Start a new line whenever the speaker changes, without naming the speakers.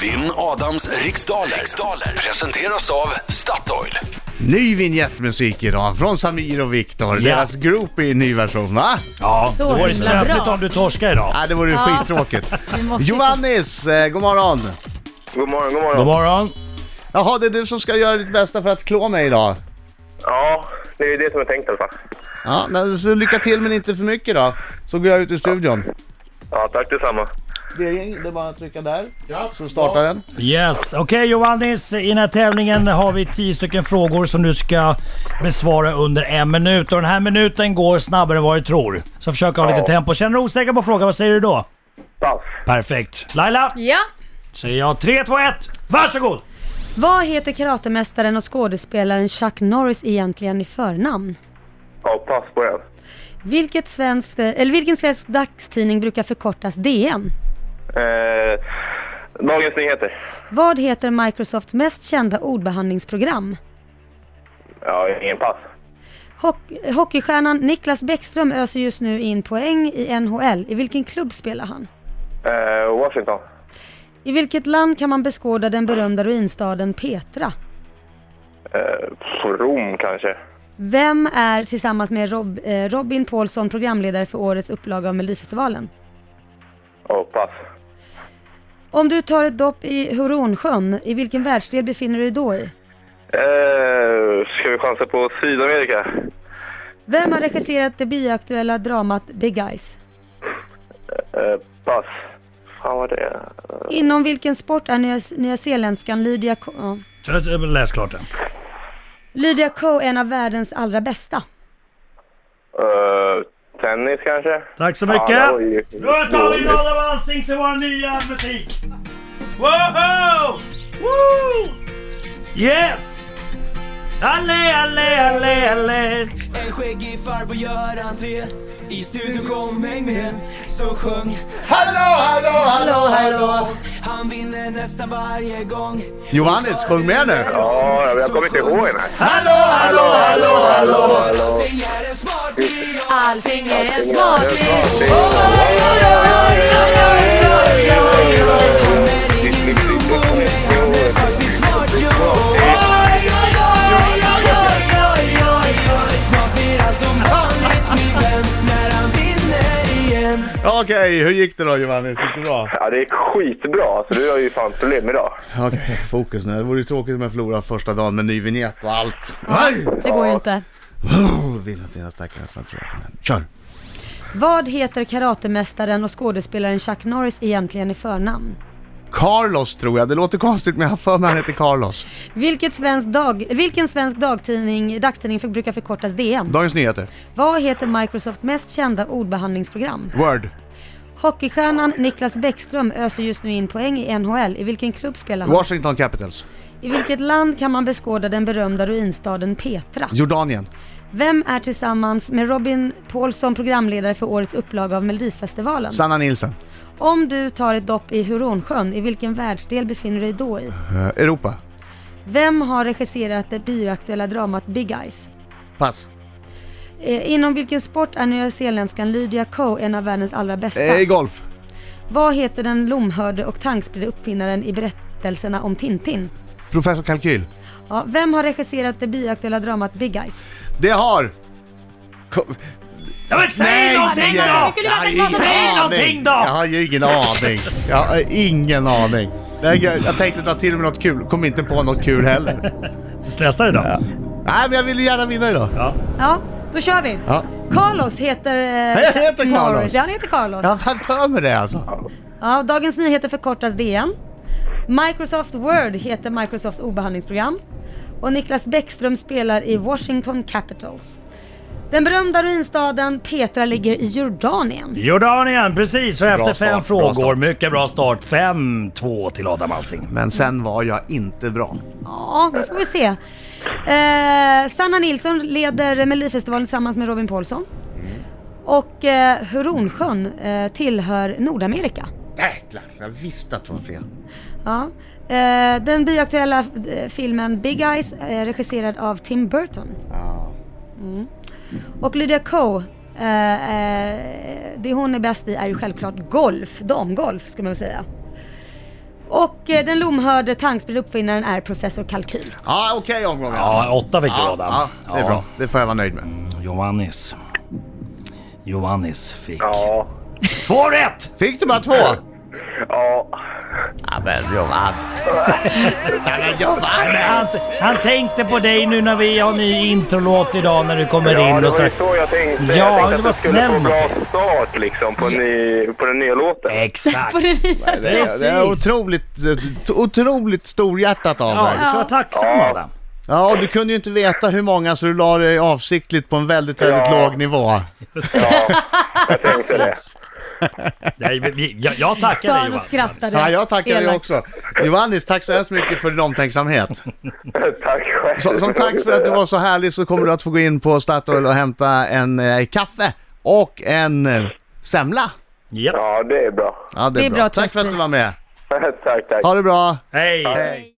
Vinn Adams riksdaler. riksdaler presenteras av Statoil.
Ny vignettmusik idag från Samir och Viktor.
Ja.
Deras group är i ny version, va?
Ja,
Så
det vore
himla
snöpligt
bra.
om du torskar idag.
Ja, det vore
Ja.
skittråkigt.
Vi måste ju-
Giovannis, eh, god morgon.
God morgon, god morgon.
God morgon.
Jaha, det är du som ska göra ditt bästa för att klå mig idag.
Ja, det är det som är tänkt i alla fall.
Ja, men så lycka till men inte för mycket då, så går jag ut ur studion.
Ja, tack detsamma.
Birging, det är bara att trycka där, så startar den.
Yes. Okej Johannes, i den här tävlingen har vi tio stycken frågor som du ska besvara under en minut. Och den här minuten går snabbare än vad du tror. Så försök ha lite
Ja.
tempo. Känner du osäker på frågan, vad säger du då?
Pass.
Perfekt. Laila,
Ja.
säger jag 3, 2, 1. Varsågod!
Vad heter karatemästaren och skådespelaren Chuck Norris egentligen i förnamn?
Ja, pass på den.
Vilket svensk, eller vilken svensk dagstidning brukar förkortas DN?
Eh, Dagens Nyheter.
Vad heter Microsofts mest kända ordbehandlingsprogram?
Ja, ingen pass.
Hock- eh, hockeystjärnan Niklas Bäckström öser just nu in poäng i NHL. I vilken klubb spelar han?
Eh, Washington.
I vilket land kan man beskåda den berömda ruinstaden Petra?
Eh, pff, Rom kanske.
Vem är tillsammans med Rob, eh, Robin Paulsson programledare för årets upplaga av Melodifestivalen?
Ja, pass.
Om du tar ett dopp i Horonsjön, i vilken världsdel befinner du dig då i?
Eh, ska vi chansa på Sydamerika?
Vem har regisserat det biaktuella dramat The Guys?
Eh, pass. Fan vad det är.
Inom vilken sport är nya, nyzeeländskan Lydia Ko- ja.
T- t- Läs klart den.
Lydia Ko en av världens allra bästa?
Eh, tennis kanske?
Tack så
Ja,
mycket.
det var ju-
Då tar vi Glada Valsing till vår nya musik! Woho! Woo! Yes! Alle, alle, alle, alle!
En skäggig farbror gör entré I studion kom häng med Som sjöng Han vinner nästan varje gång
Johannes, sjung med nu.
Ja, jag har kommit ihåg den här.
Allsing är en smart video
Allting är smakligt!
Det är-
Hon är faktiskt smart jo Oj, oj, oj, oj, oj, oj, oj, oj. Snart blir allt som vanligt min vän När han vinner igen
Okej, hur gick det då Johannes? Gick det bra?
Ja, det gick skitbra. Alltså, du har ju fan problem idag.
Okej, fokus nu. Det vore ju tråkigt om jag förlorade första dagen med ny vignett och allt. Nej!
Det går ju inte.
Oh, vill inte dina stackare snabbt Kör!
Vad heter karatemästaren och skådespelaren Chuck Norris egentligen i förnamn?
Carlos tror jag. Det låter konstigt men jag har för mig han heter Carlos.
Vilket svensk dag, vilken svensk dagtidning, dagstidning för- brukar förkortas DN?
Dagens Nyheter.
Vad heter Microsofts mest kända ordbehandlingsprogram?
Word.
Hockeystjärnan Niklas Bäckström öser just nu in poäng i NHL. I vilken klubb spelar han?
Washington Capitals.
I vilket land kan man beskåda den berömda ruinstaden Petra?
Jordanien.
Vem är tillsammans med Robin Paulsson programledare för årets upplaga av Melodifestivalen?
Sanna Nilsen.
Om du tar ett dopp i Huronsjön, i vilken världsdel befinner du dig då i?
Eh, Europa.
Vem har regisserat det bioaktuella dramat Big Eyes?
Pass.
Eh, inom vilken sport är nyzeeländskan Lydia Ko en av världens allra bästa?
Eh, golf.
Vad heter den lomhörde och tankspridde uppfinnaren i berättelserna om Tintin?
Professor Kalkyl.
Ja, vem har regisserat det bioaktuella dramat Big Eyes?
Det har... Ko-
Ja men säg någonting
jag-
då!
kunde
jag har
varit
ingen
glad om-
Säg
aning.
någonting då!
Jag har ju ingen aning. Jag har ingen aning. Jag, jag, jag tänkte dra till med något kul, kom inte på något kul heller.
Stressar idag? Ja.
Nej men jag ville gärna vinna idag.
Ja, då kör vi!
Ja.
Carlos heter... Eh,
Jag heter
Chuck
Carlos.
Norris. Ja, han heter Carlos.
Jag har fan
Ja.
för mig det alltså.
Dagens Nyheter förkortas DN. Microsoft Word heter Microsofts obehandlingsprogram. Och Niklas Bäckström spelar i Washington Capitals. Den berömda ruinstaden Petra ligger i Jordanien.
Jordanien, precis. Och efter
start, bra
fem frågor,
start.
mycket bra start. 5-2 till Adam Alsing.
Men sen var jag inte bra.
Ja, vi får vi se. Eh, Sanna Nilsson leder Melodifestivalen tillsammans med Robin Paulsson. Och eh, Huronsjön eh, tillhör Nordamerika.
Jäklar, jag visste att det var fel.
Ja. Eh, den bioaktuella eh, filmen Big Eyes är regisserad av Tim Burton. Mm.
Ja.
Och Lydia Ko, eh, eh, det hon är bäst i är ju självklart golf, damgolf skulle man väl säga. Och eh, den lomhörde tankspridda uppfinnaren är Professor Kalkyl.
Ja, okej omgången.
Ja, åtta fick du
ja,
Adam.
ja, det är bra. Det får jag vara nöjd med.
Johannes. Johannes fick...
Ja.
Två rätt!
Fick du bara två?
Ja.
Ja, men Johan. Ja, men Johan.
Han, han tänkte på dig nu när vi har ny introlåt idag när du kommer
ja,
in
det
och
var
så...
ju så jag tänkte.
Ja, du
jag tänkte att
var
det skulle
snäll.
få bra start liksom på, ny, på den nya låten.
Exakt!
På det nya.
Det är, det är
Precis.
otroligt, eh, otroligt storhjärtat av
Ja,
dig.
du ska vara tacksam
Ja.
Adam.
Ja, och du kunde ju inte veta hur många så du la dig avsiktligt på en väldigt, väldigt
Ja.
låg nivå.
Ja, jag tänkte det.
Nej, vi- vi- Jag, jag tackar
Sa
dig
han och
Johannes.
skrattade.
Ja, jag tackar dig
Elakt.
också. Johannes, tack så hemskt mycket för din omtänksamhet.
Tack själv.
Så, som tack för att du var så härlig så kommer du att få gå in på Statoil och hämta en eh, kaffe och en eh, semla.
Japp.
Ja, det är bra.
Ja, det är, bra. Tack för att du
tröstpris.
var med.
tack, tack.
Ha det bra.
Hej!
Hej.